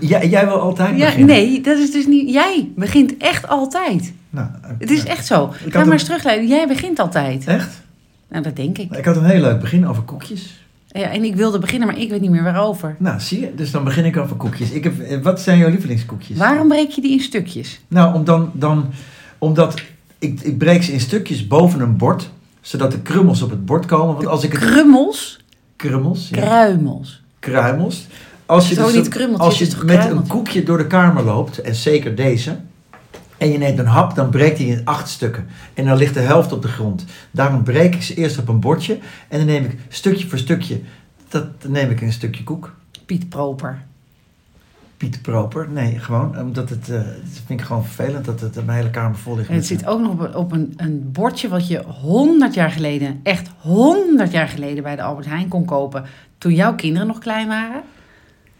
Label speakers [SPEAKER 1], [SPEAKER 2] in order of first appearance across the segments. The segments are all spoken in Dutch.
[SPEAKER 1] Jij, jij wil altijd
[SPEAKER 2] Ja,
[SPEAKER 1] beginnen.
[SPEAKER 2] nee, dat is dus niet. Jij begint echt altijd.
[SPEAKER 1] Nou,
[SPEAKER 2] Het is
[SPEAKER 1] nou,
[SPEAKER 2] echt zo.
[SPEAKER 1] had
[SPEAKER 2] Ga maar
[SPEAKER 1] hem-
[SPEAKER 2] eens terugleiden. Jij begint altijd.
[SPEAKER 1] Echt?
[SPEAKER 2] Nou, dat denk ik.
[SPEAKER 1] Ik had een heel leuk begin over koekjes.
[SPEAKER 2] Ja, en ik wilde beginnen, maar ik weet niet meer waarover.
[SPEAKER 1] Nou, zie je? Dus dan begin ik over koekjes. Ik heb, eh, wat zijn jouw lievelingskoekjes?
[SPEAKER 2] Waarom breek je die in stukjes?
[SPEAKER 1] Nou, om dan, dan, omdat ik, ik breek ze in stukjes boven een bord, zodat de krummels op het bord komen. Want als ik het...
[SPEAKER 2] Krummels,
[SPEAKER 1] Krummels? ja.
[SPEAKER 2] kruimels.
[SPEAKER 1] kruimels. Als je,
[SPEAKER 2] Zo
[SPEAKER 1] dus
[SPEAKER 2] niet
[SPEAKER 1] een-
[SPEAKER 2] krummeltjes,
[SPEAKER 1] als je
[SPEAKER 2] het is toch
[SPEAKER 1] met een
[SPEAKER 2] kruimeltjes?
[SPEAKER 1] koekje door de kamer loopt, en zeker deze, en je neemt een hap, dan breekt hij in acht stukken. En dan ligt de helft op de grond. Daarom breek ik ze eerst op een bordje en dan neem ik stukje voor stukje, dat, dan neem ik een stukje koek.
[SPEAKER 2] Piet Proper.
[SPEAKER 1] Piet Proper, nee, gewoon, omdat het, eh, dat vind ik gewoon vervelend dat het mijn hele kamer vol ligt.
[SPEAKER 2] En het
[SPEAKER 1] met-
[SPEAKER 2] zit ook nog op, een- op een, een bordje wat je 100 jaar geleden, echt 100 jaar geleden bij de Albert Heijn kon kopen. Toen jouw kinderen nog klein waren.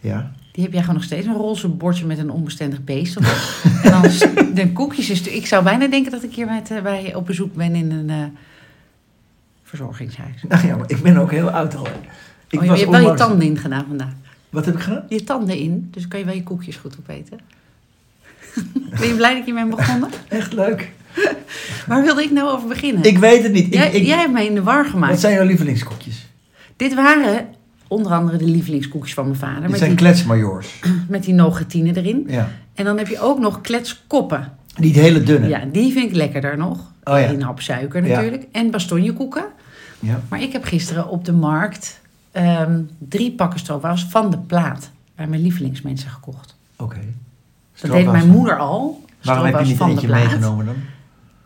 [SPEAKER 1] Ja,
[SPEAKER 2] Die heb jij gewoon nog steeds. Een roze bordje met een onbestendig beest. op. en dan s- de koekjes. Is, ik zou bijna denken dat ik hier met, eh, bij, op bezoek ben in een eh, verzorgingshuis.
[SPEAKER 1] nou ja, maar ik ben ook heel oud al. Ik
[SPEAKER 2] oh, je, je hebt wel je
[SPEAKER 1] onlangs-
[SPEAKER 2] tanden in gedaan vandaag.
[SPEAKER 1] Wat heb ik gedaan?
[SPEAKER 2] Je tanden in, dus kan je wel je koekjes goed opeten. ben je blij dat je mee begonnen?
[SPEAKER 1] Echt leuk.
[SPEAKER 2] Waar wilde ik nou over beginnen?
[SPEAKER 1] Ik weet het niet. Ik,
[SPEAKER 2] jij,
[SPEAKER 1] ik-
[SPEAKER 2] jij hebt mij in de war gemaakt.
[SPEAKER 1] wat zijn jouw lievelingskoekjes?
[SPEAKER 2] Dit waren onder andere de lievelingskoekjes van mijn vader.
[SPEAKER 1] Dit
[SPEAKER 2] Met
[SPEAKER 1] zijn
[SPEAKER 2] die,
[SPEAKER 1] kletsmajoors.
[SPEAKER 2] met die nogatine erin.
[SPEAKER 1] Ja.
[SPEAKER 2] En dan heb je ook nog kletskoppen.
[SPEAKER 1] Niet hele dunne.
[SPEAKER 2] Ja, die vind ik lekkerder nog.
[SPEAKER 1] Oh ja.
[SPEAKER 2] Een hap suiker
[SPEAKER 1] Ja.
[SPEAKER 2] natuurlijk. En bastonjekoeken.
[SPEAKER 1] Ja.
[SPEAKER 2] Maar ik heb gisteren op de markt ehm, drie pakken stroopwafels van de plaat. Bij mijn lievelingsmensen gekocht.
[SPEAKER 1] Oké.
[SPEAKER 2] Dat deed mijn moeder al.
[SPEAKER 1] Waarom heb je
[SPEAKER 2] Stroopwafels
[SPEAKER 1] niet
[SPEAKER 2] van de
[SPEAKER 1] eentje
[SPEAKER 2] plaat.
[SPEAKER 1] meegenomen dan?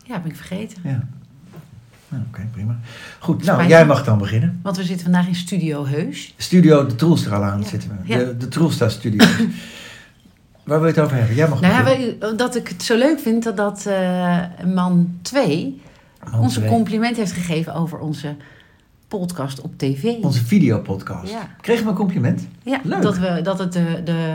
[SPEAKER 2] Ja, ben ik vergeten.
[SPEAKER 1] Ja. Nou, Oké, prima. Goed, nou,
[SPEAKER 2] Spijt
[SPEAKER 1] jij
[SPEAKER 2] me.
[SPEAKER 1] mag dan beginnen.
[SPEAKER 2] Want we zitten vandaag in Studio Heus.
[SPEAKER 1] Studio De Troelstraal aan
[SPEAKER 2] Ja.
[SPEAKER 1] zitten we.
[SPEAKER 2] Ja.
[SPEAKER 1] De, de Troelstra Studio. Waar wil je het over hebben? Jij mag
[SPEAKER 2] Nou ja,
[SPEAKER 1] beginnen.
[SPEAKER 2] wij- dat ik het zo leuk vind dat, dat eh, man 2
[SPEAKER 1] Onze
[SPEAKER 2] onze
[SPEAKER 1] week.
[SPEAKER 2] compliment heeft gegeven over onze podcast op tv.
[SPEAKER 1] Onze videopodcast.
[SPEAKER 2] Ja.
[SPEAKER 1] Kreeg ik een compliment?
[SPEAKER 2] Ja,
[SPEAKER 1] Leuk.
[SPEAKER 2] dat, we, dat het de, de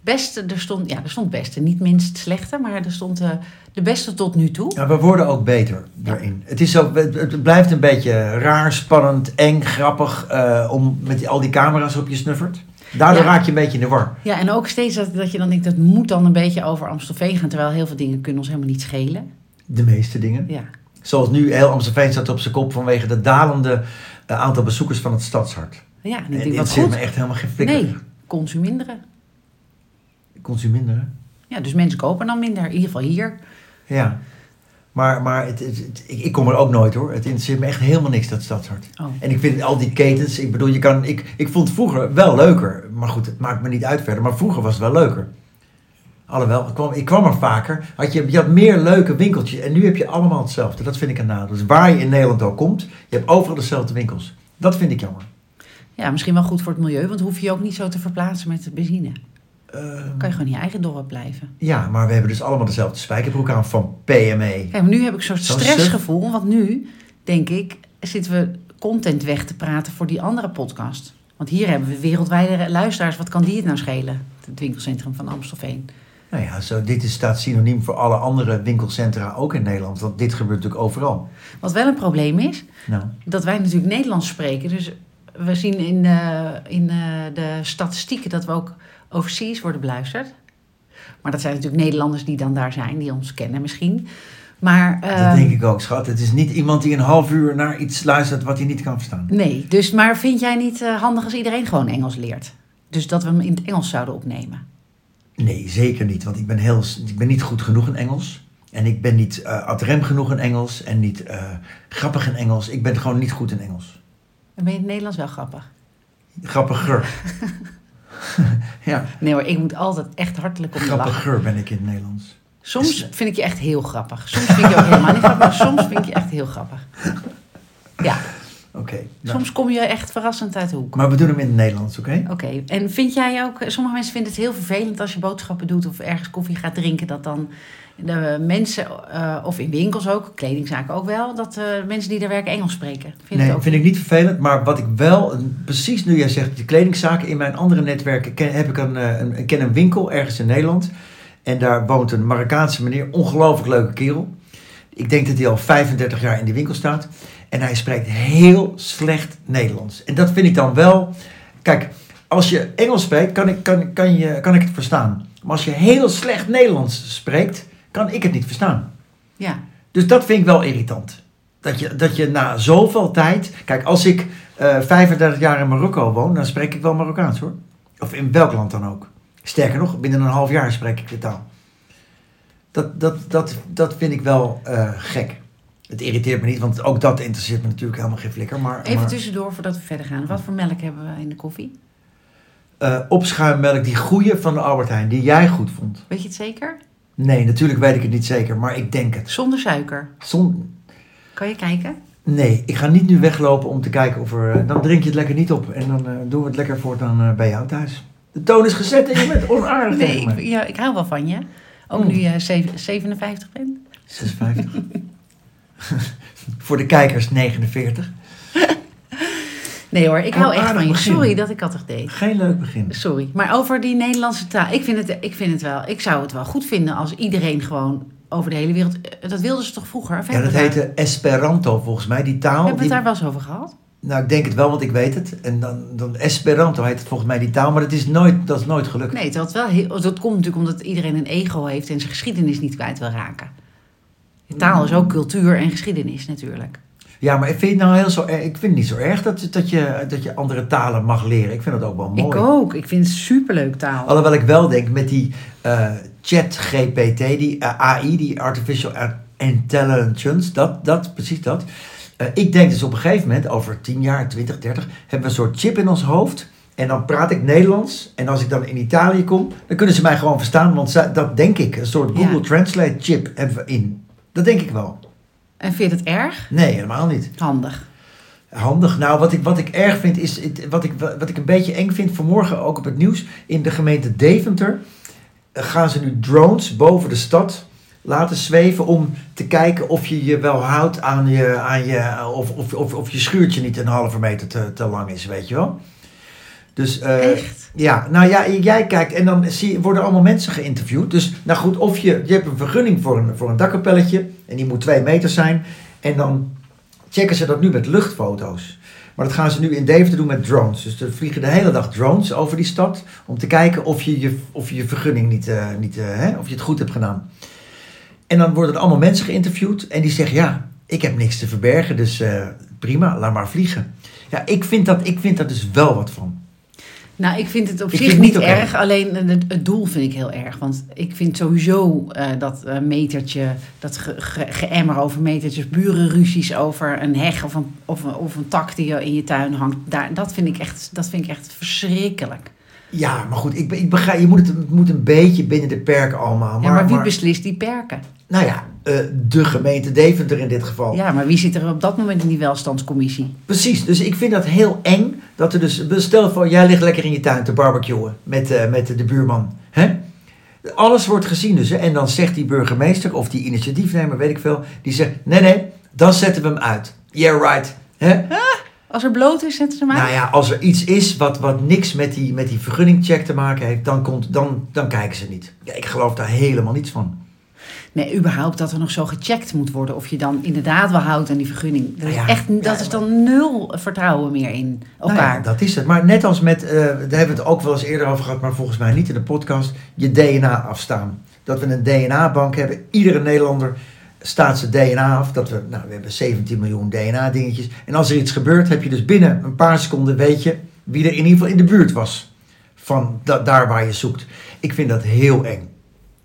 [SPEAKER 2] beste, er stond, ja, er stond beste, niet minst slechte, maar er stond eh, de beste tot nu toe.
[SPEAKER 1] Ja, we worden ook beter daarin. Het, is ook, het, het blijft een beetje raar, spannend, eng, grappig. eh, om met die- al die camera's op je snuffert. Daardoor
[SPEAKER 2] Ja.
[SPEAKER 1] raak je een beetje in de war.
[SPEAKER 2] Ja, en ook steeds dat, dat je dan denkt, dat moet dan een beetje over Amstelveen gaan, terwijl heel veel dingen kunnen ons helemaal niet schelen.
[SPEAKER 1] De meeste dingen.
[SPEAKER 2] Ja,
[SPEAKER 1] Zoals nu heel Amstelveen staat op zijn kop vanwege het dalende eh, aantal bezoekers van het stadshart.
[SPEAKER 2] ja en ik
[SPEAKER 1] En
[SPEAKER 2] denk,
[SPEAKER 1] dit
[SPEAKER 2] wat
[SPEAKER 1] zit me
[SPEAKER 2] goed.
[SPEAKER 1] echt helemaal geen flikker.
[SPEAKER 2] Nee, consuminderen.
[SPEAKER 1] Consuminderen.
[SPEAKER 2] Ja, dus mensen kopen dan minder, in ieder geval hier.
[SPEAKER 1] Ja. Maar, maar het, het- het- ik, ik kom er ook nooit hoor. Het interesseert me echt helemaal niks, dat stadshart.
[SPEAKER 2] Oh.
[SPEAKER 1] En ik vind al die ketens, ik bedoel, je kan, ik, ik vond het vroeger wel leuker. Maar goed, het maakt me niet uit verder. Maar vroeger was het wel leuker. Alhoewel, ik kwam, ik kwam er vaker. Had je, je had meer leuke winkeltjes. En nu heb je allemaal hetzelfde. Dat vind ik een nadeel. Dus waar je in Nederland ook komt, je hebt overal dezelfde winkels. Dat vind ik jammer.
[SPEAKER 2] Ja, misschien wel goed voor het milieu, want hoef je je ook niet zo te verplaatsen met de benzine.
[SPEAKER 1] Ehm,
[SPEAKER 2] Kan je gewoon in je eigen dorp blijven.
[SPEAKER 1] Ja, maar we hebben dus allemaal dezelfde spijkerbroek aan van E. PME.
[SPEAKER 2] Kijk, maar nu heb ik zo'n
[SPEAKER 1] Zo'n
[SPEAKER 2] stressgevoel, want nu denk ik, zitten we content weg te praten voor die andere podcast. Want hier hebben we wereldwijde luisteraars. Wat kan die het nou schelen? Het winkelcentrum van Amstelveen.
[SPEAKER 1] Nou ja, zo, dit is, staat synoniem voor alle andere winkelcentra ook in Nederland. Want dit gebeurt natuurlijk overal.
[SPEAKER 2] Wat wel een probleem is,
[SPEAKER 1] Nou,
[SPEAKER 2] dat wij natuurlijk Nederlands spreken. Dus we zien in, eh, in eh, de statistieken dat we ook overseas worden beluisterd. Maar dat zijn natuurlijk Nederlanders die dan daar zijn, die ons kennen misschien. Maar,
[SPEAKER 1] dat
[SPEAKER 2] ehm,
[SPEAKER 1] denk ik ook, schat. Het is niet iemand die een half uur naar iets luistert wat hij niet kan verstaan.
[SPEAKER 2] Nee, dus, maar vind jij niet eh, handig als iedereen gewoon Engels leert? Dus dat we hem in het Engels zouden opnemen.
[SPEAKER 1] Nee, zeker niet. Want ik ben, heel, s- ik ben niet goed genoeg in Engels. En ik ben niet eh ad rem genoeg in Engels. En niet eh, grappig in Engels. Ik ben gewoon niet goed in Engels.
[SPEAKER 2] Dan ben je in het Nederlands wel grappig.
[SPEAKER 1] Grappiger. ja,
[SPEAKER 2] Nee hoor, ik moet altijd echt hartelijk om je lachen.
[SPEAKER 1] grappiger ben ik in het Nederlands.
[SPEAKER 2] Soms vind ik je echt heel grappig. Soms vind ik je ook helemaal niet grappig. maar Soms vind ik je echt heel grappig. Ja,
[SPEAKER 1] Oké. nou.
[SPEAKER 2] soms kom je echt verrassend uit de hoek.
[SPEAKER 1] Maar we doen hem in het Nederlands, oké?
[SPEAKER 2] Oké, en vind jij ook... Sommige mensen vinden het heel vervelend als je boodschappen doet... of ergens koffie gaat drinken, dat dan de mensen... eh, of in winkels ook, kledingzaken ook wel... dat eh, mensen die daar werken Engels spreken. Vind je
[SPEAKER 1] nee,
[SPEAKER 2] het ook
[SPEAKER 1] vind ik niet vervelend. Maar wat ik wel, een- precies nu jij zegt, de kledingzaken in mijn andere netwerken, ken, heb ik een, eh, een, ik ken een winkel ergens in Nederland. En daar woont een Marokkaanse meneer, ongelooflijk leuke kerel. Ik denk dat hij al 35 jaar in die winkel staat. En hij spreekt heel slecht Nederlands. En dat vind ik dan wel. Kijk, als je Engels spreekt, kan ik, kan, kan, je, kan ik het verstaan. Maar als je heel slecht Nederlands spreekt, kan ik het niet verstaan.
[SPEAKER 2] Ja.
[SPEAKER 1] Dus dat vind ik wel irritant. Dat je, dat je na zoveel tijd. Kijk, als ik eh 35 jaar in Marokko woon, dan spreek ik wel Marokkaans hoor. Of in welk land dan ook. Sterker nog, binnen een half jaar spreek ik de taal. Dat, dat, dat, dat vind ik wel eh, gek. Het irriteert me niet, want ook dat interesseert me natuurlijk helemaal geen flikker. Maar,
[SPEAKER 2] Even dus-
[SPEAKER 1] maar,
[SPEAKER 2] tussendoor voordat we verder gaan. Wat voor melk hebben we in de koffie?
[SPEAKER 1] eh, opschuimmelk, die goeie van de Albert Heijn, die jij goed vond.
[SPEAKER 2] Weet je het zeker?
[SPEAKER 1] Nee, natuurlijk weet ik het niet zeker, maar ik denk het.
[SPEAKER 2] Zonder suiker.
[SPEAKER 1] Zon...
[SPEAKER 2] Kan je kijken?
[SPEAKER 1] Nee, ik ga niet nu weglopen om te kijken of er... eh, Dan drink je het lekker niet op en dan eh, doen we het lekker voortaan eh bij jou thuis. De toon is gezet en je bent onaardig
[SPEAKER 2] Nee,
[SPEAKER 1] tegen
[SPEAKER 2] ik,
[SPEAKER 1] mij.
[SPEAKER 2] ja, ik hou wel van je. Ook
[SPEAKER 1] Mm.
[SPEAKER 2] nu je zeven- 57 bent.
[SPEAKER 1] 56. Voor de kijkers 49.
[SPEAKER 2] Nee hoor, ik
[SPEAKER 1] Wat
[SPEAKER 2] hou
[SPEAKER 1] een
[SPEAKER 2] echt van
[SPEAKER 1] Oh, aardig
[SPEAKER 2] je.
[SPEAKER 1] begin.
[SPEAKER 2] Sorry dat ik dat deed.
[SPEAKER 1] Geen leuk begin.
[SPEAKER 2] Sorry. Maar over die Nederlandse taal. Ik vind, het, ik vind het wel. Ik zou het wel goed vinden als iedereen gewoon over de hele wereld. eh, Dat wilden ze toch vroeger? Of
[SPEAKER 1] Ja,
[SPEAKER 2] hebben
[SPEAKER 1] dat
[SPEAKER 2] we daar-
[SPEAKER 1] heette Esperanto volgens mij. Die taal...
[SPEAKER 2] Hebben we het
[SPEAKER 1] die-
[SPEAKER 2] daar wel eens over gehad?
[SPEAKER 1] Nou, ik denk het wel, want ik weet het. En dan, dan Esperanto heet het volgens mij die taal, maar dat is nooit, dat is nooit gelukt.
[SPEAKER 2] Nee, dat, wel heel, dat komt natuurlijk omdat iedereen een ego heeft en zijn geschiedenis niet kwijt wil raken. Je Taal is ook cultuur en geschiedenis natuurlijk.
[SPEAKER 1] Ja, maar ik vind het nou heel zo erg. Ik vind het niet zo erg dat, dat, je, dat je andere talen mag leren. Ik vind dat ook wel mooi.
[SPEAKER 2] Ik ook. Ik vind het superleuk taal.
[SPEAKER 1] Alhoewel ik wel denk met die eh, chat GPT, die eh, AI, die Artificial Intelligence, dat, dat, precies dat. Eh, ik denk dus op een gegeven moment, over 10 jaar, 20, 30, hebben we een soort chip in ons hoofd. En dan praat ik Nederlands. En als ik dan in Italië kom, dan kunnen ze mij gewoon verstaan. Want zij- dat denk ik. Een soort
[SPEAKER 2] Ja.
[SPEAKER 1] Google Translate chip hebben we in. Dat denk ik wel.
[SPEAKER 2] En vind je het erg?
[SPEAKER 1] Nee, helemaal niet.
[SPEAKER 2] Handig.
[SPEAKER 1] Handig. Nou, wat ik, wat ik erg vind is, het- wat ik, wat ik een beetje eng vind vanmorgen ook op het nieuws, in de gemeente Deventer eh, gaan ze nu drones boven de stad laten zweven om te kijken of je je wel houdt aan je, aan je of, of, of, of je schuurtje niet een halve meter te, te lang is, weet je wel. Dus, eh,
[SPEAKER 2] Echt?
[SPEAKER 1] ja, nou ja, jij kijkt en dan zie, worden allemaal mensen geïnterviewd. Dus nou goed, of je, je hebt een vergunning voor een, voor een dakkapelletje en die moet twee meter zijn. En dan checken ze dat nu met luchtfoto's. Maar dat gaan ze nu in Deventer doen met drones. Dus er vliegen de hele dag drones over die stad om te kijken of je je, of je, je vergunning niet, eh, niet eh, hè, of je het goed hebt gedaan. En dan worden er allemaal mensen geïnterviewd en die zeggen ja, ik heb niks te verbergen, dus eh, prima, laat maar vliegen. Ja, ik vind, dat, ik vind daar dus wel wat van.
[SPEAKER 2] Nou, ik vind het op
[SPEAKER 1] Ik
[SPEAKER 2] zich
[SPEAKER 1] vind het
[SPEAKER 2] niet
[SPEAKER 1] niet ook
[SPEAKER 2] erg. Alleen eh, het, het doel vind ik heel erg. Want ik vind sowieso eh, dat eh, metertje, dat ge- ge- geëmmer over metertjes, burenruzies over een heg of een, of, een, of een tak die in je tuin hangt. Daar, dat, vind ik echt, dat vind ik echt verschrikkelijk.
[SPEAKER 1] Ja, maar goed, ik, be- ik begrijp, je moet het, het moet een beetje binnen de perken allemaal. Maar,
[SPEAKER 2] ja, maar wie
[SPEAKER 1] maar-
[SPEAKER 2] beslist die perken?
[SPEAKER 1] Nou ja, eh, de gemeente Deventer in dit geval.
[SPEAKER 2] Ja, maar wie zit er op dat moment in die welstandscommissie?
[SPEAKER 1] Precies, dus ik vind dat heel eng. Dat er dus, stel voor, jij ligt lekker in je tuin te barbecuen met, eh, met de buurman. Hè? Alles wordt gezien dus. Hè? En dan zegt die burgemeester of die initiatiefnemer, weet ik veel. Die zegt, nee, nee, dan zetten we hem uit. Yeah, right. Hè?
[SPEAKER 2] Als er bloot is, zetten ze maar.
[SPEAKER 1] Nou ja, als er iets is wat, wat niks met die, met die vergunningcheck te maken heeft, dan, komt, dan, dan kijken ze niet. Ja, ik geloof daar helemaal niets van.
[SPEAKER 2] Nee, überhaupt dat er nog zo gecheckt moet worden of je dan inderdaad wel houdt aan die vergunning. Dat,
[SPEAKER 1] Nou ja,
[SPEAKER 2] is, echt, dat
[SPEAKER 1] ja,
[SPEAKER 2] is dan nul vertrouwen meer in elkaar.
[SPEAKER 1] Nou ja, dat is het. Maar net als met, eh, daar hebben we het ook wel eens eerder over gehad, maar volgens mij niet in de podcast, je DNA afstaan. Dat we een DNA-bank hebben. Iedere Nederlander staat zijn DNA af. Dat we, nou, we hebben 17 miljoen DNA-dingetjes. En als er iets gebeurt, heb je dus binnen een paar seconden, weet je, wie er in ieder geval in de buurt was. Van da- daar waar je zoekt. Ik vind dat heel eng.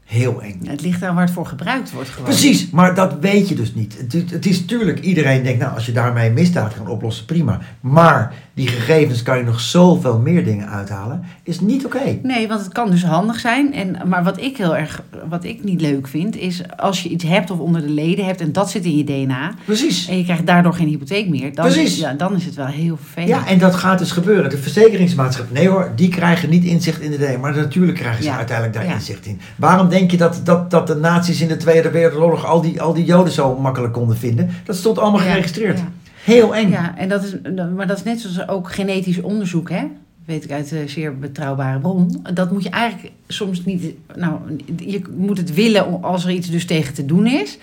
[SPEAKER 1] Heel eng.
[SPEAKER 2] Het ligt aan waar het voor gebruikt wordt gewoon.
[SPEAKER 1] Precies, maar dat weet je dus niet. Het, het is natuurlijk, iedereen denkt, nou, als je daarmee een misdaad kan oplossen, prima. Maar die gegevens kan je nog zoveel meer dingen uithalen, is niet oké.
[SPEAKER 2] Nee, want het kan dus handig zijn. En, maar wat ik heel erg, wat ik niet leuk vind, is als je iets hebt of onder de leden hebt en dat zit in je DNA.
[SPEAKER 1] Precies.
[SPEAKER 2] En je krijgt daardoor geen hypotheek meer. Dan,
[SPEAKER 1] Precies.
[SPEAKER 2] Ja, dan is het wel heel vervelend.
[SPEAKER 1] Ja, en dat gaat dus gebeuren. De verzekeringsmaatschappij, nee hoor, die krijgen niet inzicht in de DNA, maar natuurlijk krijgen ze
[SPEAKER 2] Ja,
[SPEAKER 1] uiteindelijk daar
[SPEAKER 2] ja.
[SPEAKER 1] inzicht in. Waarom denk je dat, dat, dat de nazi's in de Tweede Wereldoorlog al die, al die Joden zo makkelijk konden vinden? Dat stond allemaal
[SPEAKER 2] Ja,
[SPEAKER 1] geregistreerd.
[SPEAKER 2] ja.
[SPEAKER 1] Heel eng.
[SPEAKER 2] Ja, en dat is, maar dat is net zoals ook genetisch onderzoek, hè? Weet ik uit een zeer betrouwbare bron. Dat moet je eigenlijk soms niet. Nou, je moet het willen om- als er iets dus tegen te doen is.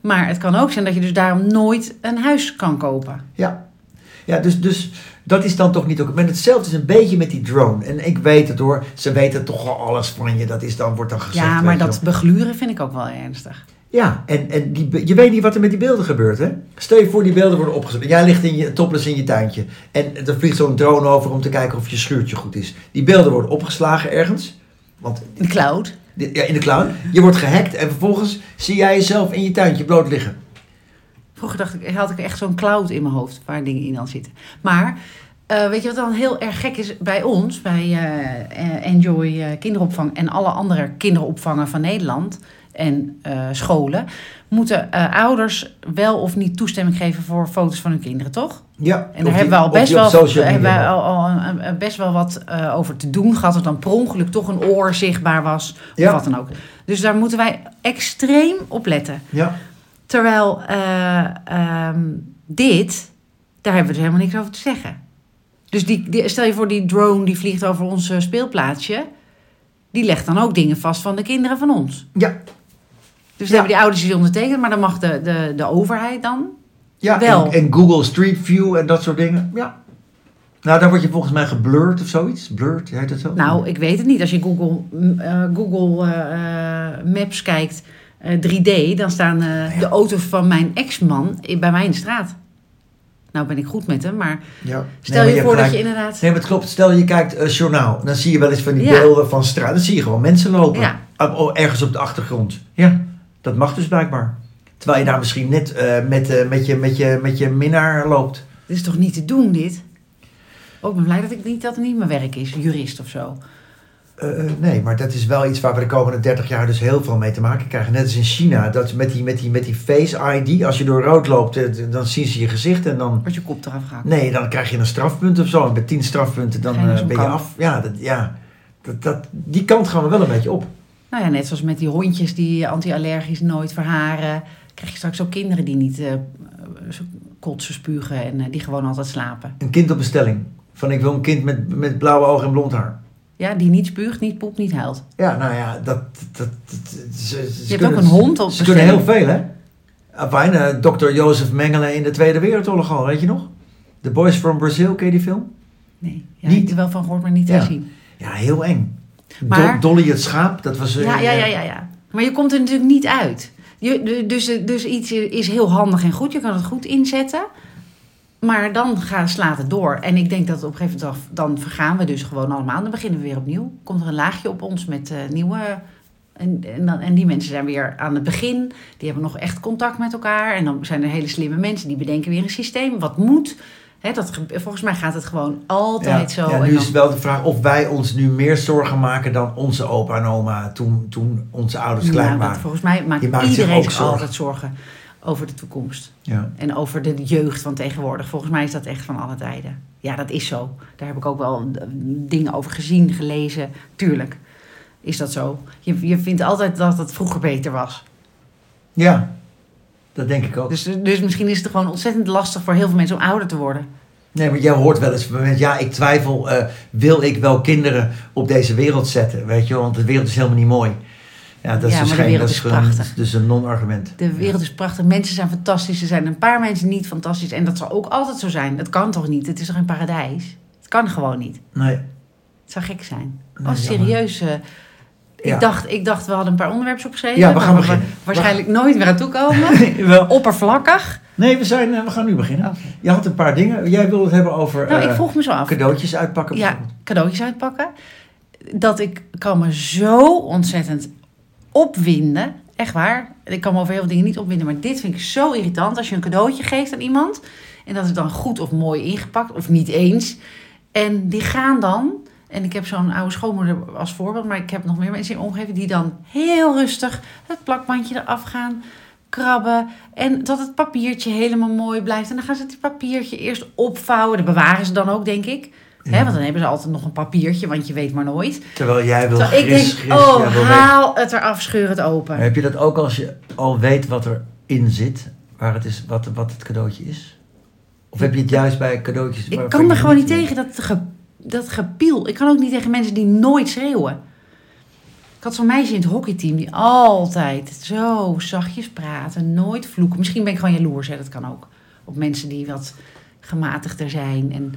[SPEAKER 2] Maar het kan ook zijn dat je dus daarom nooit een huis kan kopen.
[SPEAKER 1] Ja. Ja, dus, dus dat is dan toch niet ook. Maar hetzelfde is een beetje met die drone. En ik weet het hoor, ze weten toch al alles van je. Dat is dan, wordt dan gezegd.
[SPEAKER 2] Ja, maar
[SPEAKER 1] weet je
[SPEAKER 2] dat
[SPEAKER 1] wel.
[SPEAKER 2] begluren vind ik ook wel ernstig.
[SPEAKER 1] Ja, en, en die, be- je weet niet wat er met die beelden gebeurt, hè? Stel je voor, die beelden worden opgezet. Jij ligt in je, topless in je tuintje. En er vliegt zo'n drone over om te kijken of je schuurtje goed is. Die beelden worden opgeslagen ergens. Want
[SPEAKER 2] In de cloud.
[SPEAKER 1] Dit- Ja, in de cloud. Je wordt gehackt en vervolgens zie jij jezelf in je tuintje bloot liggen.
[SPEAKER 2] Vroeger dacht ik, had ik echt zo'n cloud in mijn hoofd waar dingen in aan zitten. Maar eh, weet je wat dan heel erg gek is bij ons, bij eh, eh, Enjoy eh, Kinderopvang en alle andere kinderopvangen van Nederland en eh, scholen, moeten eh, ouders wel of niet toestemming geven voor foto's van hun kinderen, toch?
[SPEAKER 1] Ja.
[SPEAKER 2] En daar hebben we al best wel, hebben
[SPEAKER 1] we
[SPEAKER 2] wij al, al een- een- best wel wat eh, over te doen gehad. Dat dan per ongeluk toch een oor zichtbaar was.
[SPEAKER 1] Ja.
[SPEAKER 2] Of wat dan ook. Dus daar moeten wij extreem op letten.
[SPEAKER 1] Ja.
[SPEAKER 2] Terwijl eh, ehm, dit, daar hebben we dus helemaal niks over te zeggen. Dus die, die- stel je voor die drone die vliegt over ons eh, speelplaatsje. Die legt dan ook dingen vast van de kinderen van ons.
[SPEAKER 1] Ja.
[SPEAKER 2] Dus
[SPEAKER 1] Ja.
[SPEAKER 2] daar hebben die ouders die ondertekend. Maar dan mag de, de, de overheid dan.
[SPEAKER 1] ja.
[SPEAKER 2] Wel.
[SPEAKER 1] En, en Google Street View en dat soort dingen. Ja. Nou, daar word je volgens mij geblurred of zoiets. Blurred, heet dat zo?
[SPEAKER 2] Nou, ik weet het niet. Als je Google, m, eh, Google eh, eh, Maps kijkt, eh, 3D, dan staan eh, de auto's van mijn ex-man in- bij mij in de straat. Nou ben ik goed met hem, maar
[SPEAKER 1] Ja.
[SPEAKER 2] stel
[SPEAKER 1] Nee, maar
[SPEAKER 2] je voor dat
[SPEAKER 1] hebt gelijk.
[SPEAKER 2] je inderdaad...
[SPEAKER 1] Nee, maar het klopt. Stel je kijkt eh, journaal. Dan zie je wel eens van die
[SPEAKER 2] Ja.
[SPEAKER 1] beelden van straat. Dan zie je gewoon mensen lopen.
[SPEAKER 2] Ja.
[SPEAKER 1] Ah, oh, Ergens op de achtergrond. Ja. Dat mag dus blijkbaar. Terwijl je daar misschien net eh, met, eh, met, je, met, je, met je minnaar loopt.
[SPEAKER 2] Dit is toch niet te doen, dit? Ook ben blij dat ik niet, dat het niet mijn werk is, jurist of zo.
[SPEAKER 1] Eh, eh, nee, maar dat is wel iets waar we de komende 30 jaar dus heel veel mee te maken krijgen. Net als in China, dat met die, met die, met die Face ID, als je door rood loopt, eh, dan zien ze je gezicht en dan...
[SPEAKER 2] Wordt je kop eraf gehakt.
[SPEAKER 1] Nee, dan krijg je een strafpunt of zo. En met 10 strafpunten dan
[SPEAKER 2] Ga je naar
[SPEAKER 1] eh,
[SPEAKER 2] zo'n
[SPEAKER 1] ben je
[SPEAKER 2] kamp.
[SPEAKER 1] af. Ja, dat, ja dat, dat, die kant gaan we wel een beetje op.
[SPEAKER 2] Nou ja, net zoals met die hondjes die anti-allergisch nooit verharen. Krijg je straks ook kinderen die niet eh, eh, zo kotsen, spugen en eh, die gewoon altijd slapen.
[SPEAKER 1] Een kind op bestelling. Van ik wil een kind met, met blauwe ogen en blond haar.
[SPEAKER 2] Ja, die niet spuugt, niet poept, niet huilt.
[SPEAKER 1] Ja, nou ja, dat... dat, dat- ze- ze,
[SPEAKER 2] Je hebt
[SPEAKER 1] kunnen-
[SPEAKER 2] ook een hond op
[SPEAKER 1] Ze kunnen heel
[SPEAKER 2] bestelling.
[SPEAKER 1] veel, hè? Ah, Bijna dokter Jozef Mengele in de Tweede Wereldoorlog al, weet je nog? The Boys from Brazil, ken je die film?
[SPEAKER 2] Nee, ja,
[SPEAKER 1] Niet.
[SPEAKER 2] ik heb er wel van gehoord, maar niet
[SPEAKER 1] Ja.
[SPEAKER 2] gezien.
[SPEAKER 1] Ja, heel eng.
[SPEAKER 2] Maar-
[SPEAKER 1] Do- Dolly het schaap, dat was... eh,
[SPEAKER 2] Ja, ja, ja, ja, ja. Maar je komt er natuurlijk niet uit. Je, de- dus, eh, dus iets is heel handig en goed. Je kan het goed inzetten. Maar dan gaat, slaat het door. En ik denk dat op een gegeven moment dan- dan vergaan we dus gewoon allemaal. Dan beginnen we weer opnieuw. Komt er een laagje op ons met eh, nieuwe. En, en, dan, en die mensen zijn weer aan het begin. Die hebben nog echt contact met elkaar. En dan zijn er hele slimme mensen die bedenken weer een systeem. Wat moet. Hè, dat, ge- volgens mij gaat het gewoon altijd
[SPEAKER 1] Ja,
[SPEAKER 2] zo.
[SPEAKER 1] ja,
[SPEAKER 2] en
[SPEAKER 1] nu
[SPEAKER 2] dan-
[SPEAKER 1] is wel de vraag of wij ons nu meer zorgen maken dan onze opa en oma toen, toen onze ouders klein
[SPEAKER 2] Nou, dat-
[SPEAKER 1] waren.
[SPEAKER 2] volgens mij maakt
[SPEAKER 1] Die maakt zich
[SPEAKER 2] iedereen
[SPEAKER 1] ook
[SPEAKER 2] zich
[SPEAKER 1] zorgen.
[SPEAKER 2] altijd zorgen over de toekomst.
[SPEAKER 1] Ja.
[SPEAKER 2] En over de jeugd van tegenwoordig. Volgens mij is dat echt van alle tijden. Ja, dat is zo. Daar heb ik ook wel eh, dingen over gezien, gelezen. Tuurlijk is dat zo. Je, je vindt altijd dat het vroeger beter was.
[SPEAKER 1] ja, dat denk ik ook.
[SPEAKER 2] Dus, dus misschien is het gewoon ontzettend lastig voor heel veel mensen om ouder te worden.
[SPEAKER 1] Nee, maar jij hoort wel eens op het moment, ja, ik twijfel, eh, wil ik wel kinderen op deze wereld zetten, weet je, want de wereld is helemaal niet mooi. Ja, dat is
[SPEAKER 2] Ja, maar de
[SPEAKER 1] dus geen-
[SPEAKER 2] wereld
[SPEAKER 1] dat
[SPEAKER 2] is
[SPEAKER 1] gewoon-
[SPEAKER 2] prachtig.
[SPEAKER 1] dus een non-argument.
[SPEAKER 2] De wereld is prachtig. Mensen zijn fantastisch. Er zijn een paar mensen niet fantastisch. En dat zal ook altijd zo zijn. Dat kan toch niet? Het is toch een paradijs? Het kan gewoon niet.
[SPEAKER 1] Ja. Nee.
[SPEAKER 2] Het zou gek zijn.
[SPEAKER 1] Nee, jammer.
[SPEAKER 2] oh, serieus. eh,
[SPEAKER 1] Ja.
[SPEAKER 2] ik, dacht, ik dacht, we hadden een paar onderwerpen opgeschreven.
[SPEAKER 1] Ja, we gaan
[SPEAKER 2] waar
[SPEAKER 1] beginnen.
[SPEAKER 2] waarschijnlijk nooit meer aan toekomen.
[SPEAKER 1] wel.
[SPEAKER 2] Oppervlakkig.
[SPEAKER 1] Nee, we, zijn, eh, we gaan nu beginnen. Je had een paar dingen. Jij wilde het hebben over
[SPEAKER 2] Nou, ik
[SPEAKER 1] eh,
[SPEAKER 2] vroeg me zo af.
[SPEAKER 1] cadeautjes uitpakken.
[SPEAKER 2] Ja,
[SPEAKER 1] bijvoorbeeld.
[SPEAKER 2] cadeautjes uitpakken. Dat ik kan me zo ontzettend opwinden. Echt waar. Ik kan me over heel veel dingen niet opwinden. Maar dit vind ik zo irritant. Als je een cadeautje geeft aan iemand. En dat is dan goed of mooi ingepakt. Of niet eens. En die gaan dan. En ik heb zo'n oude schoonmoeder als voorbeeld. Maar ik heb nog meer mensen in mijn omgeving. Die dan heel rustig het plakbandje eraf gaan. Krabben. En dat het papiertje helemaal mooi blijft. En dan gaan ze het papiertje eerst opvouwen. Dat bewaren ze dan ook, denk ik. Hè, want dan hebben ze altijd nog een papiertje. Want je weet maar nooit.
[SPEAKER 1] Terwijl jij wil
[SPEAKER 2] Terwijl ik
[SPEAKER 1] gris,
[SPEAKER 2] denk,
[SPEAKER 1] gris,
[SPEAKER 2] oh,
[SPEAKER 1] jij wil weten.
[SPEAKER 2] haal het eraf, scheur het open.
[SPEAKER 1] Maar Heb je dat ook als je al weet wat erin zit, waar het is, wat, wat het cadeautje is? Of heb je het juist bij cadeautjes?
[SPEAKER 2] Ik
[SPEAKER 1] waarvan
[SPEAKER 2] kan
[SPEAKER 1] je
[SPEAKER 2] er gewoon niet
[SPEAKER 1] weet?
[SPEAKER 2] tegen dat, ge, dat gepiel. Ik kan ook niet tegen mensen die nooit schreeuwen. Ik had zo'n meisje in het hockeyteam die altijd zo zachtjes praten, nooit vloeken. Misschien ben ik gewoon jaloers, hè, dat kan ook. Op mensen die wat gematigder zijn en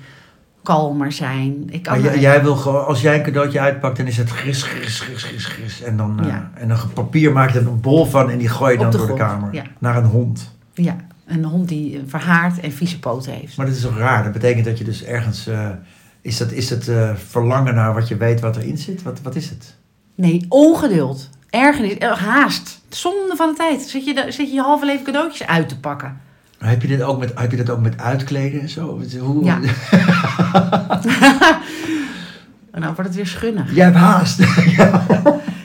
[SPEAKER 2] kalmer zijn. Ik kan
[SPEAKER 1] Maar jij,
[SPEAKER 2] maar-
[SPEAKER 1] jij wil gewoon, als jij een cadeautje uitpakt, dan is het gris, gris, gris, gris, gris. En dan, eh,
[SPEAKER 2] Ja.
[SPEAKER 1] en dan ge- papier maak je er een bol van en die gooi je
[SPEAKER 2] Op
[SPEAKER 1] dan
[SPEAKER 2] de
[SPEAKER 1] door de
[SPEAKER 2] grond,
[SPEAKER 1] kamer.
[SPEAKER 2] ja.
[SPEAKER 1] Naar een hond.
[SPEAKER 2] ja, een hond die eh, verhaard en vieze poten heeft.
[SPEAKER 1] Maar dat is toch raar? Dat betekent dat je dus ergens... eh, is dat, is dat eh, verlangen naar wat je weet wat erin zit? Wat, wat is het?
[SPEAKER 2] Nee, ongeduld. Ergernis, eh, haast. Zonde van de tijd. Zit je, da- zit je je halve leven cadeautjes uit te pakken.
[SPEAKER 1] Heb je, dit ook met, heb je dat ook met uitkleden en zo? Hoe,
[SPEAKER 2] Ja. En dan wordt het weer schunnig.
[SPEAKER 1] Jij hebt haast.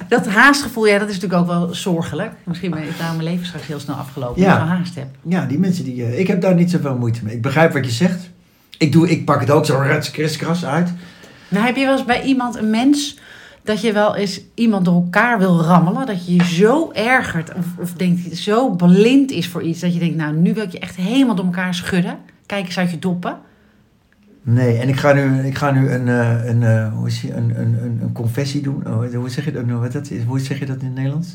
[SPEAKER 2] Dat haastgevoel, ja, dat is natuurlijk ook wel zorgelijk. Misschien ben ik daar mijn leven straks heel snel afgelopen.
[SPEAKER 1] Ja.
[SPEAKER 2] Ja. ik zo haast heb.
[SPEAKER 1] ja, die mensen die... eh, ik heb daar niet zoveel moeite mee. Ik begrijp wat je zegt. Ik, doe, ik pak het ook zo rats, kriskras uit.
[SPEAKER 2] Nou, heb je wel eens bij iemand, een mens, dat je wel eens iemand door elkaar wil rammelen? Dat je je zo ergert of, of denkt, zo blind is voor iets. Dat je denkt, nou, nu wil ik je echt helemaal door elkaar schudden. Kijk eens uit je doppen.
[SPEAKER 1] Nee, en ik ga nu, ik ga nu een, eh, een, eh, hoe is die, een, een, een, een confessie doen. Oh, hoe, zeg je dat, hoe, dat, is- hoe zeg je dat in het Nederlands?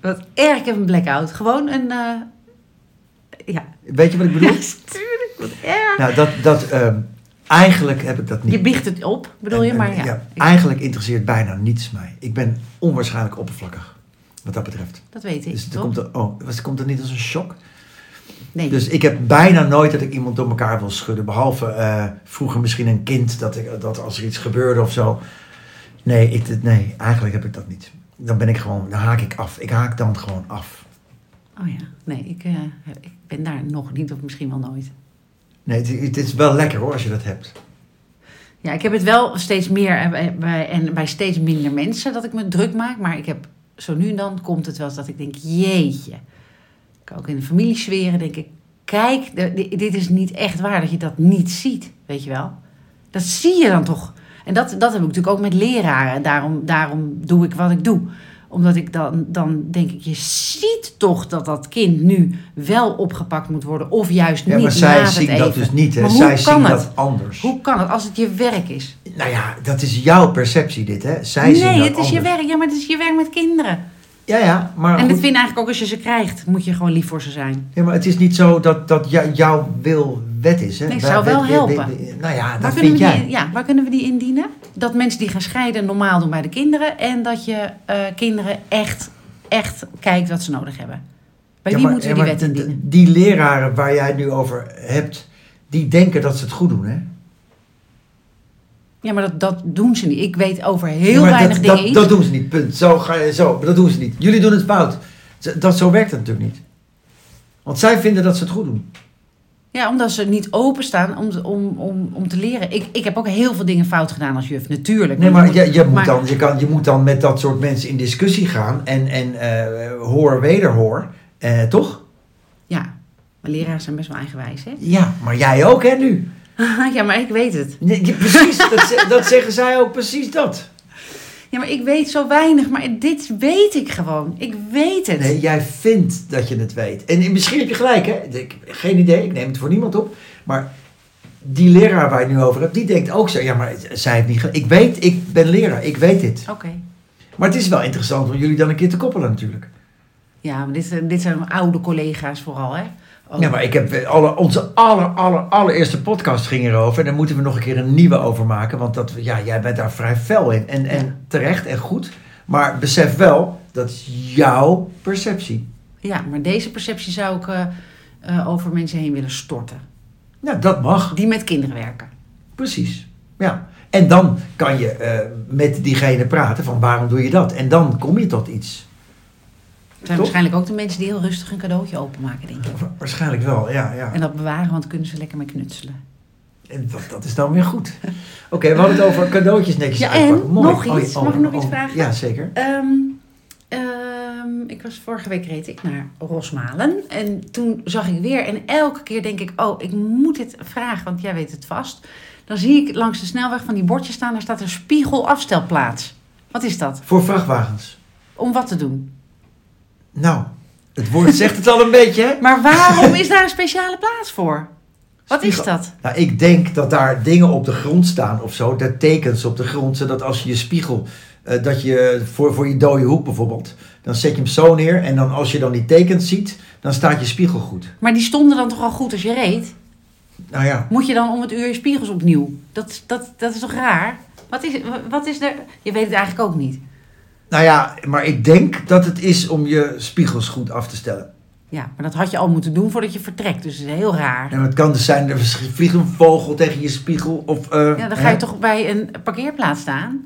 [SPEAKER 2] Wat erg, ik heb een blackout. Gewoon een, eh, ja.
[SPEAKER 1] Weet je wat ik
[SPEAKER 2] Ja,
[SPEAKER 1] bedoel?
[SPEAKER 2] natuurlijk. Wat erg.
[SPEAKER 1] nou, dat, dat, ehm, eigenlijk heb ik dat niet.
[SPEAKER 2] Je biecht het op, bedoel je?
[SPEAKER 1] En-
[SPEAKER 2] Maar
[SPEAKER 1] en-
[SPEAKER 2] ja.
[SPEAKER 1] Eigenlijk interesseert bijna niets mij. Ik ben onwaarschijnlijk oppervlakkig, wat dat betreft.
[SPEAKER 2] dat weet ik,
[SPEAKER 1] Dus het
[SPEAKER 2] toch?
[SPEAKER 1] komt, er, oh, was- komt er niet als een shock?
[SPEAKER 2] nee.
[SPEAKER 1] Dus ik heb bijna nooit dat ik iemand door elkaar wil schudden. Behalve eh, vroeger misschien een kind, dat, ik, dat als er iets gebeurde of zo. Nee, ik, nee, eigenlijk heb ik dat niet. Dan ben ik gewoon, dan haak ik af. Ik haak dan gewoon af.
[SPEAKER 2] Oh ja, nee, ik, eh, ik ben daar nog niet of misschien wel nooit.
[SPEAKER 1] Nee, het, het is wel lekker hoor, als je dat hebt.
[SPEAKER 2] Ja, ik heb het wel steeds meer en bij- bij, en bij steeds minder mensen dat ik me druk maak. Maar ik heb zo nu en dan komt het wel eens dat ik denk, jeetje. Ik ook in de familiesferen denk ik, kijk, de- di- dit is niet echt waar dat je dat niet ziet, weet je wel. Dat zie je dan toch. En dat, dat heb ik natuurlijk ook met leraren. Daarom, daarom doe ik wat ik doe. Omdat ik dan, dan denk ik, je ziet toch dat dat kind nu wel opgepakt moet worden. Of juist
[SPEAKER 1] Ja,
[SPEAKER 2] niet
[SPEAKER 1] maar
[SPEAKER 2] na
[SPEAKER 1] zij
[SPEAKER 2] het
[SPEAKER 1] zien dat
[SPEAKER 2] eten.
[SPEAKER 1] dus niet. Hè.
[SPEAKER 2] Maar
[SPEAKER 1] Zij
[SPEAKER 2] hoe kan
[SPEAKER 1] zien
[SPEAKER 2] het?
[SPEAKER 1] dat anders.
[SPEAKER 2] Hoe kan het als het je werk is?
[SPEAKER 1] Nou ja, dat is jouw perceptie dit, hè? Zij zien dat
[SPEAKER 2] nee, het is
[SPEAKER 1] anders.
[SPEAKER 2] je werk. Ja, maar het is je werk met kinderen.
[SPEAKER 1] Ja, ja, maar,
[SPEAKER 2] en dat
[SPEAKER 1] goed.
[SPEAKER 2] vind ik eigenlijk ook als je ze krijgt, moet je gewoon lief voor ze zijn.
[SPEAKER 1] Ja, maar het is niet zo dat, dat jou- jouw wil wet is, hè?
[SPEAKER 2] Nee, het
[SPEAKER 1] Wij-
[SPEAKER 2] zou wel
[SPEAKER 1] wet- wet-
[SPEAKER 2] helpen.
[SPEAKER 1] wet- nou ja,
[SPEAKER 2] Waar
[SPEAKER 1] dat
[SPEAKER 2] kunnen,
[SPEAKER 1] vind
[SPEAKER 2] we
[SPEAKER 1] jij.
[SPEAKER 2] die, ja, waar kunnen we die indienen? Dat mensen die gaan scheiden normaal doen bij de kinderen. En dat je eh, kinderen echt, echt kijkt wat ze nodig hebben. Bij
[SPEAKER 1] Ja,
[SPEAKER 2] wie
[SPEAKER 1] maar-
[SPEAKER 2] moeten we
[SPEAKER 1] ja,
[SPEAKER 2] die
[SPEAKER 1] maar
[SPEAKER 2] wet
[SPEAKER 1] d- d-
[SPEAKER 2] indienen?
[SPEAKER 1] Die leraren waar jij het nu over hebt, die denken dat ze het goed doen, hè?
[SPEAKER 2] Ja, maar dat, dat doen ze niet. Ik weet over
[SPEAKER 1] Ja,
[SPEAKER 2] heel
[SPEAKER 1] maar
[SPEAKER 2] weinig
[SPEAKER 1] dat,
[SPEAKER 2] dingen
[SPEAKER 1] dat,
[SPEAKER 2] iets.
[SPEAKER 1] dat doen ze niet, punt. Zo, ga je, zo, dat doen ze niet. Jullie doen het fout. Z- Dat, zo werkt het natuurlijk niet. Want zij vinden dat ze het goed doen.
[SPEAKER 2] Ja, omdat ze niet openstaan om, om, om, om te leren. Ik, ik heb ook heel veel dingen fout gedaan als juf, natuurlijk.
[SPEAKER 1] Nee, maar
[SPEAKER 2] je
[SPEAKER 1] je, je, moet,
[SPEAKER 2] maar-
[SPEAKER 1] dan, je, kan, je moet dan met dat soort mensen in discussie gaan en, en eh hoor wederhoor, eh, toch?
[SPEAKER 2] Ja, maar leraren zijn best wel eigenwijs, hè?
[SPEAKER 1] Ja, maar jij ook, hè, nu?
[SPEAKER 2] Ah, ja, maar ik weet het.
[SPEAKER 1] Nee, je- precies, dat, ze- dat zeggen zij ook precies dat.
[SPEAKER 2] Ja, maar ik weet zo weinig. Maar dit weet ik gewoon. Ik weet het.
[SPEAKER 1] Nee, jij vindt dat je het weet. En misschien heb je gelijk, hè? Ik, geen idee, ik neem het voor niemand op. Maar die leraar waar je het nu over hebt, die denkt ook zo. Ja, maar zij heeft niet gelijk. Ik weet, ik ben leraar, ik weet dit.
[SPEAKER 2] Oké.
[SPEAKER 1] Maar het is wel interessant om jullie dan een keer te koppelen natuurlijk.
[SPEAKER 2] Ja, maar dit, zijn- dit zijn oude collega's vooral, hè? Oh, Ook-
[SPEAKER 1] Ja, maar ik heb eh, alle, onze aller, aller, allereerste podcast ging erover. En daar moeten we nog een keer een nieuwe over maken. Want dat, ja, jij bent daar vrij fel in. En,
[SPEAKER 2] Ja.
[SPEAKER 1] en terecht en goed. Maar besef wel, dat is jouw perceptie.
[SPEAKER 2] ja, maar deze perceptie zou ik eh, eh, over mensen heen willen storten.
[SPEAKER 1] Nou, dat mag.
[SPEAKER 2] Die met kinderen werken.
[SPEAKER 1] Precies. Ja. En dan kan je eh, met diegene praten van waarom doe je dat? En dan kom je tot iets.
[SPEAKER 2] Het zijn
[SPEAKER 1] Toch?
[SPEAKER 2] waarschijnlijk ook de mensen die heel rustig een cadeautje openmaken, denk ik.
[SPEAKER 1] Wa- Waarschijnlijk wel, ja. ja.
[SPEAKER 2] En dat bewaren, want daar kunnen ze lekker mee knutselen.
[SPEAKER 1] En dat, dat is dan weer goed. Oké, we hadden het over cadeautjes netjes
[SPEAKER 2] Ja,
[SPEAKER 1] uitpakken.
[SPEAKER 2] en
[SPEAKER 1] Mooi. Oh,
[SPEAKER 2] nog iets. Mag ik nog iets vragen?
[SPEAKER 1] Ja, zeker.
[SPEAKER 2] Ehm, ehm, ik was vorige week reed ik naar Rosmalen. En toen zag ik weer. En elke keer denk ik, oh, ik moet dit vragen, want jij weet het vast. Dan zie ik langs de snelweg van die bordjes staan, daar staat een spiegelafstelplaats. Wat is dat?
[SPEAKER 1] Voor vrachtwagens.
[SPEAKER 2] Om wat te doen?
[SPEAKER 1] Nou, het woord zegt het al een beetje, hè?
[SPEAKER 2] Maar waarom is daar een speciale plaats voor? Wat is
[SPEAKER 1] Spiegel-
[SPEAKER 2] dat?
[SPEAKER 1] Nou, ik denk dat daar dingen op de grond staan of zo. Dat tekens op de grond, zodat als je je spiegel, eh, dat je voor, voor je dode hoek bijvoorbeeld, dan zet je hem zo neer. En dan als je dan die tekens ziet, dan staat je spiegel goed.
[SPEAKER 2] Maar die stonden dan toch al goed als je reed?
[SPEAKER 1] Nou ja,
[SPEAKER 2] Moet je dan om het uur je spiegels opnieuw? Dat, dat, dat is toch raar? Wat is, wat is er? Je weet het eigenlijk ook niet.
[SPEAKER 1] nou ja, maar ik denk dat het is om je spiegels goed af te stellen.
[SPEAKER 2] Ja, maar dat had je al moeten doen voordat je vertrekt. Dus het is heel raar.
[SPEAKER 1] En het kan dus zijn, er vliegt een vogel tegen je spiegel. Of, eh,
[SPEAKER 2] Ja, dan ga je
[SPEAKER 1] hè?
[SPEAKER 2] toch bij een parkeerplaats staan?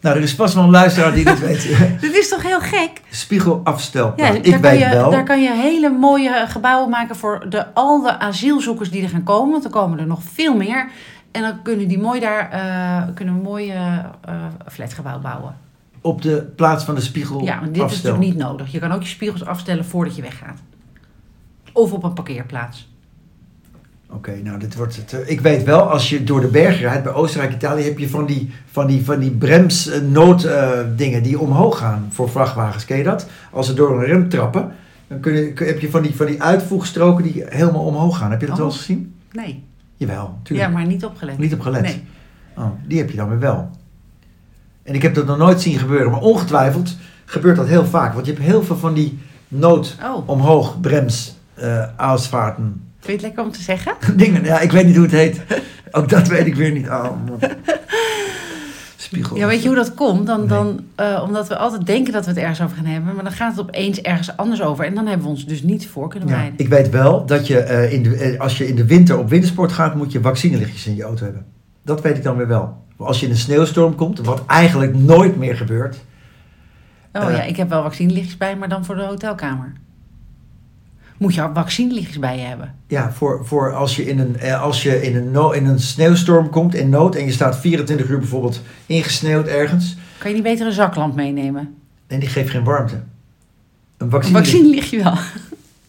[SPEAKER 1] Nou, er is vast wel een luisteraar die dit weet.
[SPEAKER 2] Dit is toch heel gek?
[SPEAKER 1] Spiegelafstel.
[SPEAKER 2] Ja,
[SPEAKER 1] Nou, ik
[SPEAKER 2] daar, kan
[SPEAKER 1] weet
[SPEAKER 2] je,
[SPEAKER 1] wel.
[SPEAKER 2] daar kan je hele mooie gebouwen maken voor de, al de asielzoekers die er gaan komen. Want er komen er nog veel meer. En dan kunnen die mooi daar eh, kunnen we een mooi eh, eh, flatgebouw bouwen.
[SPEAKER 1] Op de plaats van de spiegel.
[SPEAKER 2] Ja, want dit is
[SPEAKER 1] afstel.
[SPEAKER 2] natuurlijk niet nodig. Je kan ook je spiegels afstellen voordat je weggaat. Of op een parkeerplaats.
[SPEAKER 1] Oké, nou, dit wordt het. eh, Ik weet wel, als je door de bergen rijdt bij Oostenrijk, Italië, heb je van die, van die, van die eh, bremsnooddingen die omhoog gaan voor vrachtwagens. Ken je dat? Als ze door een rem trappen, dan kun je, kun- heb je van die, van die uitvoegstroken die helemaal omhoog gaan. Heb je dat
[SPEAKER 2] Oh.
[SPEAKER 1] wel eens gezien?
[SPEAKER 2] Nee.
[SPEAKER 1] Jawel, natuurlijk.
[SPEAKER 2] Ja, maar niet opgelet.
[SPEAKER 1] Niet op gelet.
[SPEAKER 2] Nee.
[SPEAKER 1] Oh, die heb je dan weer wel. En ik heb dat nog nooit zien gebeuren, maar ongetwijfeld gebeurt dat heel vaak. Want je hebt heel veel van die nood
[SPEAKER 2] Oh,
[SPEAKER 1] omhoog brems eh aansvaarten.
[SPEAKER 2] vind je het lekker om te zeggen?
[SPEAKER 1] Dingen, ja, ik weet niet hoe het heet. Ook dat weet ik weer niet. Oh, man. Spiegel.
[SPEAKER 2] Ja, weet je hoe dat komt? Dan,
[SPEAKER 1] Nee.
[SPEAKER 2] dan, eh, omdat we altijd denken dat we het ergens over gaan hebben, maar dan gaat het opeens ergens anders over. En dan hebben we ons dus niet voor kunnen
[SPEAKER 1] Ja,
[SPEAKER 2] bereiden.
[SPEAKER 1] ik weet wel dat je, eh, in de, eh, als je in de winter op wintersport gaat, moet je vaccinelichtjes in je auto hebben. Dat weet ik dan weer wel. Maar Als je in een sneeuwstorm komt, wat eigenlijk nooit meer gebeurt,
[SPEAKER 2] oh
[SPEAKER 1] eh.
[SPEAKER 2] ja, ik heb wel vaccinelichtjes bij, maar dan voor de hotelkamer. Moet je ook vaccinelichtjes bij je hebben?
[SPEAKER 1] Ja, voor, voor als je, in een, eh, als je in, een no- in een sneeuwstorm komt in nood en je staat 24 uur bijvoorbeeld ingesneeuwd ergens
[SPEAKER 2] Kan je niet beter een zaklamp meenemen?
[SPEAKER 1] en die geeft geen warmte. Een
[SPEAKER 2] Een
[SPEAKER 1] vaccine
[SPEAKER 2] vaccinelichtje wel.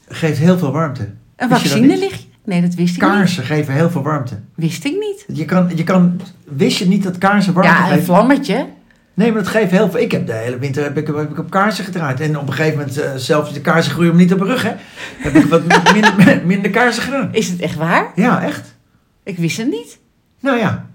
[SPEAKER 1] geeft heel veel warmte.
[SPEAKER 2] Een
[SPEAKER 1] Wist je dat
[SPEAKER 2] vaccinelichtje? Nee, dat wist ik niet.
[SPEAKER 1] Kaarsen geven heel veel warmte.
[SPEAKER 2] Wist ik niet.
[SPEAKER 1] Je kan, je kan, wist je niet dat kaarsen warmte
[SPEAKER 2] Ja, een
[SPEAKER 1] geven?
[SPEAKER 2] vlammetje.
[SPEAKER 1] Nee, maar dat geeft heel veel. Ik heb de hele winter heb ik, heb ik op kaarsen gedraaid. En op een gegeven moment, eh, zelfs de kaarsen groeien om niet op mijn rug, hè. Heb ik wat minder, minder kaarsen gedaan.
[SPEAKER 2] Is het echt waar?
[SPEAKER 1] Ja, echt.
[SPEAKER 2] Ik wist het niet.
[SPEAKER 1] Nou ja,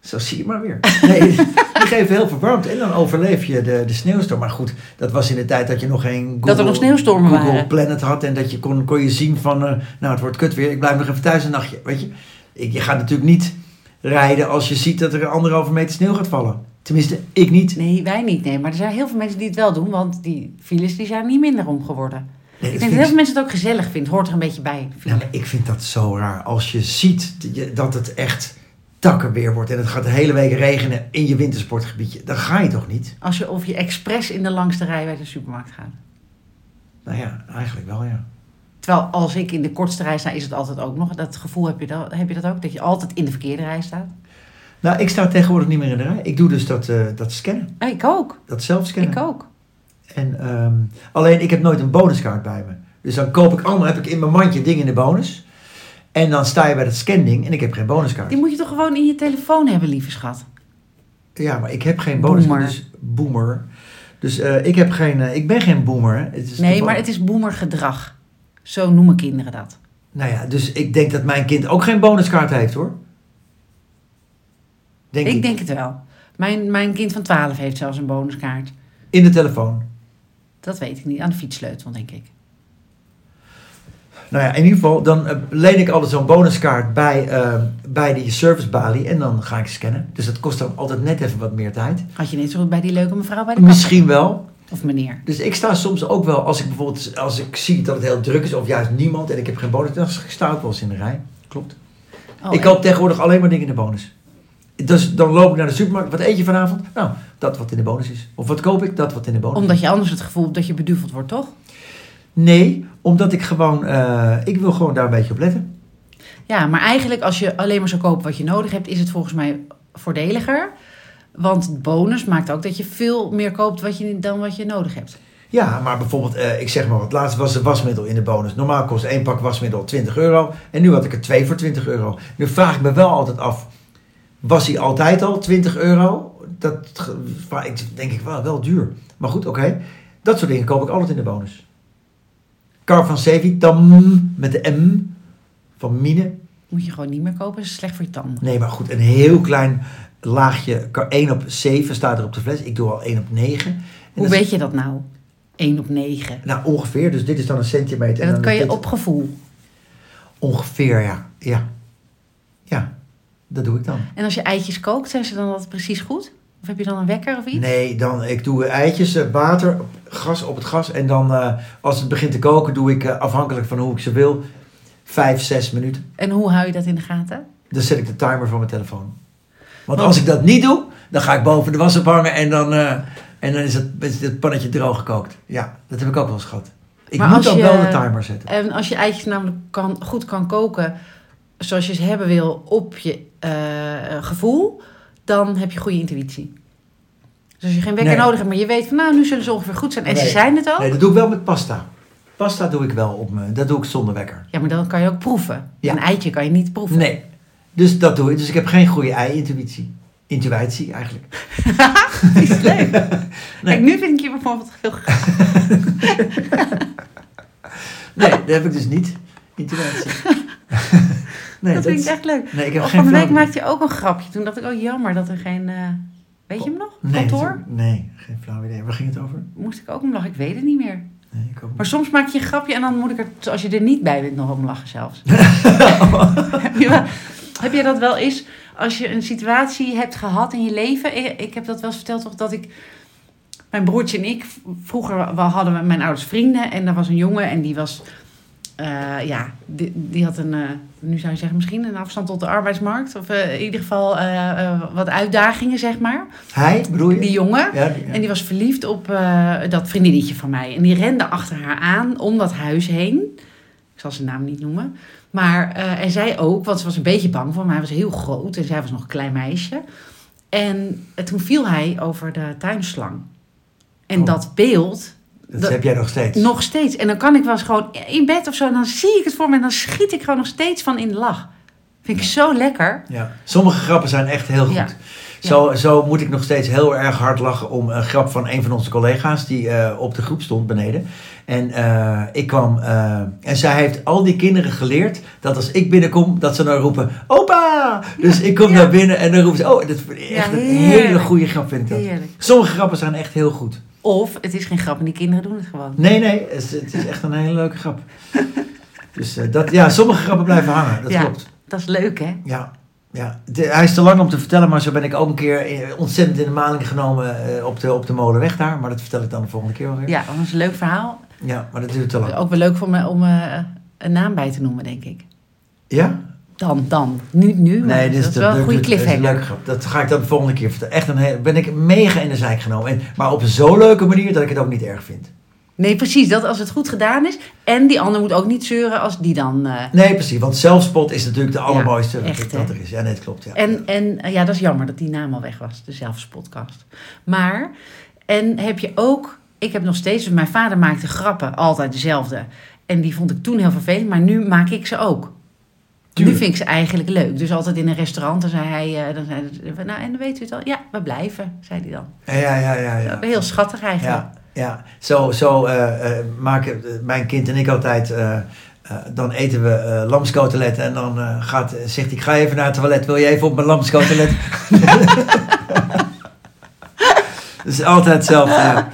[SPEAKER 1] zo zie je maar weer. Nee, die geven heel veel warmte en dan overleef je de, de sneeuwstorm. Maar goed, dat was in de tijd dat je nog geen Google,
[SPEAKER 2] er nog sneeuwstormen
[SPEAKER 1] Google
[SPEAKER 2] waren.
[SPEAKER 1] Planet had en dat je kon, kon je zien van, eh, nou het wordt kut weer, ik blijf nog even thuis een nachtje. Weet je, ik, je gaat natuurlijk niet rijden als je ziet dat er anderhalve meter sneeuw gaat vallen. Tenminste, ik niet.
[SPEAKER 2] Nee, wij niet. Nee, maar er zijn heel veel mensen die het wel doen, want die files die zijn niet minder om geworden.
[SPEAKER 1] Nee,
[SPEAKER 2] Ik
[SPEAKER 1] dat
[SPEAKER 2] denk
[SPEAKER 1] vind
[SPEAKER 2] dat heel
[SPEAKER 1] ik-
[SPEAKER 2] veel mensen het ook gezellig vinden. Hoort er een beetje bij.
[SPEAKER 1] Nou, maar ik vind dat zo raar. Als je ziet dat je- dat het echt takkenweer wordt en het gaat de hele week regenen in je wintersportgebiedje, dan ga je toch niet?
[SPEAKER 2] Als je of je expres in de langste rij bij de supermarkt gaat.
[SPEAKER 1] Nou ja, eigenlijk wel ja.
[SPEAKER 2] Terwijl als ik in de kortste rij sta, is het altijd ook nog. Dat gevoel heb je, dat, heb je dat ook? Dat je altijd in de verkeerde rij staat?
[SPEAKER 1] Nou, ik sta tegenwoordig niet meer in de rij. Ik doe dus dat, eh, dat scannen,
[SPEAKER 2] Ah, ik ook.
[SPEAKER 1] dat zelfscannen.
[SPEAKER 2] Ik ook.
[SPEAKER 1] En, ehm, alleen, ik heb nooit een bonuskaart bij me. Dus dan koop ik allemaal, heb ik in mijn mandje dingen in de bonus. En dan sta je bij dat scanding en ik heb geen bonuskaart.
[SPEAKER 2] Die moet je toch gewoon in je telefoon hebben, lieve schat?
[SPEAKER 1] Ja, maar ik heb geen bonuskaart.
[SPEAKER 2] Boomer.
[SPEAKER 1] Dus boomer. Dus eh, ik, heb geen, eh, ik ben geen boomer. hè. Het is
[SPEAKER 2] Nee,
[SPEAKER 1] toevallig-
[SPEAKER 2] maar het is boomergedrag. Zo noemen kinderen dat.
[SPEAKER 1] Nou ja, dus ik denk dat mijn kind ook geen bonuskaart heeft hoor. Denk ik.
[SPEAKER 2] Ik denk het wel. Mijn, mijn kind van 12 heeft zelfs een bonuskaart.
[SPEAKER 1] In de telefoon.
[SPEAKER 2] Dat weet ik niet. Aan de fietssleutel, denk ik.
[SPEAKER 1] Nou ja, in ieder geval, dan eh, leen ik altijd zo'n bonuskaart bij, eh, bij die servicebalie en dan ga ik scannen. Dus dat kost dan altijd net even wat meer tijd.
[SPEAKER 2] Had je net zo goed bij die leuke mevrouw bij de kassa?
[SPEAKER 1] Misschien wel.
[SPEAKER 2] Of meneer.
[SPEAKER 1] Dus ik sta soms ook wel, als ik bijvoorbeeld als ik zie dat het heel druk is of juist niemand en ik heb geen bonus, dan sta ik wel eens in de rij. Klopt.
[SPEAKER 2] Oh,
[SPEAKER 1] ik koop tegenwoordig alleen maar dingen in de bonus. Dus dan loop ik naar de supermarkt. Wat eet je vanavond? Nou, dat wat in de bonus is. Of wat koop ik? Dat wat in de bonus is.
[SPEAKER 2] Omdat je anders het gevoel hebt dat je beduveld wordt, toch?
[SPEAKER 1] Nee, omdat ik gewoon, eh, ik wil gewoon daar een beetje op letten.
[SPEAKER 2] Ja, maar eigenlijk als je alleen maar zou kopen wat je nodig hebt, is het volgens mij voordeliger. Want bonus maakt ook dat je veel meer koopt wat je, dan wat je nodig hebt.
[SPEAKER 1] Ja, maar bijvoorbeeld, eh, ik zeg maar wat, laatst was er wasmiddel in de bonus. Normaal kost één pak wasmiddel 20 euro. En nu had ik er twee voor 20 euro. Nu vraag ik me wel altijd af, was hij altijd al 20 euro? Dat ge- vra- ik, denk ik wel, wel duur. Maar goed, oké. Dat soort dingen koop ik altijd in de bonus. Car van Sevi, tam, met de M van Mine.
[SPEAKER 2] Moet je gewoon niet meer kopen, is slecht voor je tanden.
[SPEAKER 1] Nee, maar goed, een heel klein laagje. 1 op 7 staat er op de fles. Ik doe al 1 op 9. En
[SPEAKER 2] Hoe
[SPEAKER 1] dat is-
[SPEAKER 2] weet je dat nou? 1 op 9.
[SPEAKER 1] Nou, ongeveer. Dus dit is dan een centimeter.
[SPEAKER 2] En dat
[SPEAKER 1] dan
[SPEAKER 2] kan
[SPEAKER 1] is
[SPEAKER 2] je
[SPEAKER 1] dit-
[SPEAKER 2] op gevoel.
[SPEAKER 1] Ongeveer, ja. Ja. Ja, dat doe ik dan.
[SPEAKER 2] En als je eitjes kookt, zijn ze dan altijd precies goed? Of heb je dan een wekker of iets?
[SPEAKER 1] Nee, dan, ik doe eitjes, eh, water, gas op het gas. En dan eh, als het begint te koken, doe ik eh, afhankelijk van hoe ik ze wil, vijf, zes minuten.
[SPEAKER 2] En hoe hou je dat in de gaten?
[SPEAKER 1] Dan zet ik de timer van mijn telefoon. Want als ik dat niet doe, dan ga ik boven de was ophangen en dan, eh, en dan is, het, is het pannetje droog gekookt. Ja, dat heb ik ook wel eens gehad. Ik
[SPEAKER 2] Maar
[SPEAKER 1] moet
[SPEAKER 2] als
[SPEAKER 1] dan
[SPEAKER 2] je-
[SPEAKER 1] wel de timer zetten.
[SPEAKER 2] En als je eitjes namelijk kan, goed kan koken, zoals je ze hebben wil, op je eh, gevoel, dan heb je goede intuïtie. Dus als je geen wekker
[SPEAKER 1] Nee.
[SPEAKER 2] nodig hebt, maar je weet van nou, nu zullen ze ongeveer goed zijn. En ze
[SPEAKER 1] Nee.
[SPEAKER 2] zijn het ook.
[SPEAKER 1] Nee, dat doe ik wel met pasta. Pasta doe ik wel op me. Dat doe ik zonder wekker.
[SPEAKER 2] Ja, maar dan kan je ook proeven.
[SPEAKER 1] Ja.
[SPEAKER 2] Een eitje kan je niet proeven.
[SPEAKER 1] Nee. Dus dat doe ik. Dus ik heb geen goede ei-intuïtie. Intuïtie eigenlijk.
[SPEAKER 2] is leuk. Kijk,
[SPEAKER 1] Nee.
[SPEAKER 2] nu vind ik je bijvoorbeeld heel gaaf.
[SPEAKER 1] Nee, dat heb ik dus niet. Intuïtie. nee,
[SPEAKER 2] dat vind ik
[SPEAKER 1] is-
[SPEAKER 2] echt leuk.
[SPEAKER 1] Nee, ik heb
[SPEAKER 2] Oh,
[SPEAKER 1] geen
[SPEAKER 2] van de week
[SPEAKER 1] flauw-
[SPEAKER 2] maakte je ook een grapje. Toen dacht ik, oh jammer dat er geen, eh, weet je hem nog?
[SPEAKER 1] nee,
[SPEAKER 2] Kantoor?
[SPEAKER 1] dat- Nee, geen flauw idee. Waar ging het over?
[SPEAKER 2] Moest ik ook om lachen, ik weet het niet meer.
[SPEAKER 1] Nee, ik ook niet.
[SPEAKER 2] Maar soms maak je een grapje en dan moet ik er, als je er niet bij bent, nog om lachen zelfs. heb, je wel- heb jij dat wel eens, als je een situatie hebt gehad in je leven? Ik, ik heb dat wel eens verteld, toch, dat ik... Mijn broertje en ik, v- vroeger we hadden we mijn ouders vrienden. En daar was een jongen en die was... eh, ja, die, die had een, eh, nu zou je zeggen misschien een afstand tot de arbeidsmarkt. Of eh, in ieder geval eh, eh, wat uitdagingen, zeg maar.
[SPEAKER 1] Hij, bedoel je?
[SPEAKER 2] Die jongen.
[SPEAKER 1] Ja, die- ja.
[SPEAKER 2] En die was verliefd op eh, dat vriendinnetje van mij. En die rende achter haar aan om dat huis heen. Ik zal zijn naam niet noemen. Maar, eh, en zij ook, want ze was een beetje bang voor hem. Hij was heel groot en zij was nog een klein meisje. En eh, toen viel hij over de tuinslang. En
[SPEAKER 1] Oh.
[SPEAKER 2] dat beeld
[SPEAKER 1] dat,
[SPEAKER 2] dat-
[SPEAKER 1] heb jij nog steeds.
[SPEAKER 2] nog steeds. En dan kan ik wel eens gewoon in bed of zo. En dan zie ik het voor me. En dan schiet ik gewoon nog steeds van in de lach. Vind ik zo lekker.
[SPEAKER 1] Ja. Sommige grappen zijn echt heel goed.
[SPEAKER 2] Ja.
[SPEAKER 1] Zo, zo moet ik nog steeds heel erg hard lachen om een grap van een van onze collega's die eh, op de groep stond beneden. En eh, ik kwam eh, en zij heeft al die kinderen geleerd dat als ik binnenkom, dat ze dan roepen: Opa! Dus ik kom
[SPEAKER 2] ja.
[SPEAKER 1] naar binnen en dan roepen ze: Oh, dat is echt een
[SPEAKER 2] heerlijk.
[SPEAKER 1] hele goede grap, vind ik dat.
[SPEAKER 2] Heerlijk.
[SPEAKER 1] Sommige grappen zijn echt heel goed.
[SPEAKER 2] Of het is geen grap en die kinderen doen het gewoon.
[SPEAKER 1] Nee, nee, het is, het is echt een hele leuke grap. Dus eh, dat, ja, sommige grappen blijven hangen, dat
[SPEAKER 2] Ja.
[SPEAKER 1] klopt.
[SPEAKER 2] Dat is leuk, hè?
[SPEAKER 1] Ja, ja. De- hij is te lang om te vertellen, maar zo ben ik ook een keer eh, ontzettend in de maling genomen eh, op, de, op de molenweg daar. Maar dat vertel ik dan de volgende keer wel weer. Ja,
[SPEAKER 2] Ja, want dat is een leuk verhaal.
[SPEAKER 1] maar dat duurt te lang.
[SPEAKER 2] Ook wel leuk voor me om eh, een naam bij te noemen, denk ik.
[SPEAKER 1] Ja?
[SPEAKER 2] Dan, dan. Nu, nu. maar
[SPEAKER 1] Nee, dit
[SPEAKER 2] dat is wel een
[SPEAKER 1] Dat
[SPEAKER 2] goede
[SPEAKER 1] is
[SPEAKER 2] cliffhanger.
[SPEAKER 1] leuk grap. Dat ga ik dan de volgende keer vertellen. Echt een hele, ben ik mega in de zijk genomen. En, maar op zo'n leuke manier dat ik het ook niet erg vind.
[SPEAKER 2] Nee, precies. Dat als het goed gedaan is. En die ander moet ook niet zeuren als die dan... eh,
[SPEAKER 1] Nee, precies. Want zelfspot is natuurlijk de allermooiste wat
[SPEAKER 2] echt,
[SPEAKER 1] ik-
[SPEAKER 2] hè?
[SPEAKER 1] dat er is. Ja, nee, dat klopt. Ja.
[SPEAKER 2] En, en eh, ja, dat is jammer dat die naam al weg was. De zelfspodcast. Maar, en heb je ook... Ik heb nog steeds... dus Mijn vader maakte grappen. Altijd dezelfde. En die vond ik toen heel vervelend. Maar nu maak ik ze ook.
[SPEAKER 1] Tuurlijk.
[SPEAKER 2] Nu vind ik ze eigenlijk leuk. Dus altijd in een restaurant. Dan zei hij... eh, dan zei hij, nou, en dan weet u het al. Ja, we blijven. Zei hij dan.
[SPEAKER 1] ja, ja, ja, ja.
[SPEAKER 2] Heel schattig eigenlijk.
[SPEAKER 1] Ja, ja. zo, zo eh, eh, maken eh, mijn kind en ik altijd. eh, eh, dan eten we eh lamscoteletten en dan eh, gaat, zegt hij: Ik ga even naar het toilet, wil je even op mijn lamscotelet? dus altijd hetzelfde. ja.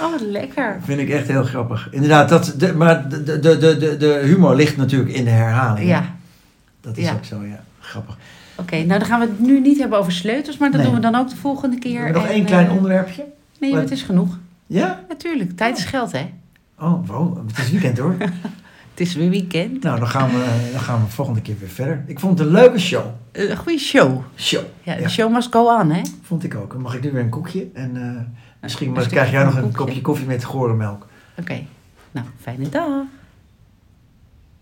[SPEAKER 2] Oh, wat lekker.
[SPEAKER 1] Vind ik echt heel grappig. Inderdaad, dat, de, maar de, de, de, de, de humor ligt natuurlijk in de herhaling.
[SPEAKER 2] Ja,
[SPEAKER 1] Dat is
[SPEAKER 2] ja.
[SPEAKER 1] ook zo, ja. Grappig.
[SPEAKER 2] oké. Nou, dan gaan we het nu niet hebben over sleutels, maar dat
[SPEAKER 1] Nee.
[SPEAKER 2] doen we dan ook de volgende keer.
[SPEAKER 1] nog
[SPEAKER 2] En,
[SPEAKER 1] één klein
[SPEAKER 2] eh,
[SPEAKER 1] onderwerpje.
[SPEAKER 2] Nee, maar het is genoeg.
[SPEAKER 1] Ja?
[SPEAKER 2] Natuurlijk, tijd is geld, hè?
[SPEAKER 1] Oh, wow. Het is weekend hoor.
[SPEAKER 2] Het is weer weekend.
[SPEAKER 1] nou, dan gaan, we, dan gaan we volgende keer weer verder. Ik vond het een leuke show.
[SPEAKER 2] Eh, Een goede show.
[SPEAKER 1] Show.
[SPEAKER 2] Ja, de
[SPEAKER 1] Ja.
[SPEAKER 2] show must go on, hè?
[SPEAKER 1] Vond ik ook. Dan mag ik nu weer een koekje. En eh, misschien
[SPEAKER 2] een
[SPEAKER 1] maar
[SPEAKER 2] stukje
[SPEAKER 1] krijg jij
[SPEAKER 2] van
[SPEAKER 1] nog
[SPEAKER 2] een
[SPEAKER 1] een
[SPEAKER 2] koekje.
[SPEAKER 1] kopje koffie met gore melk.
[SPEAKER 2] Oké. Nou, fijne dag.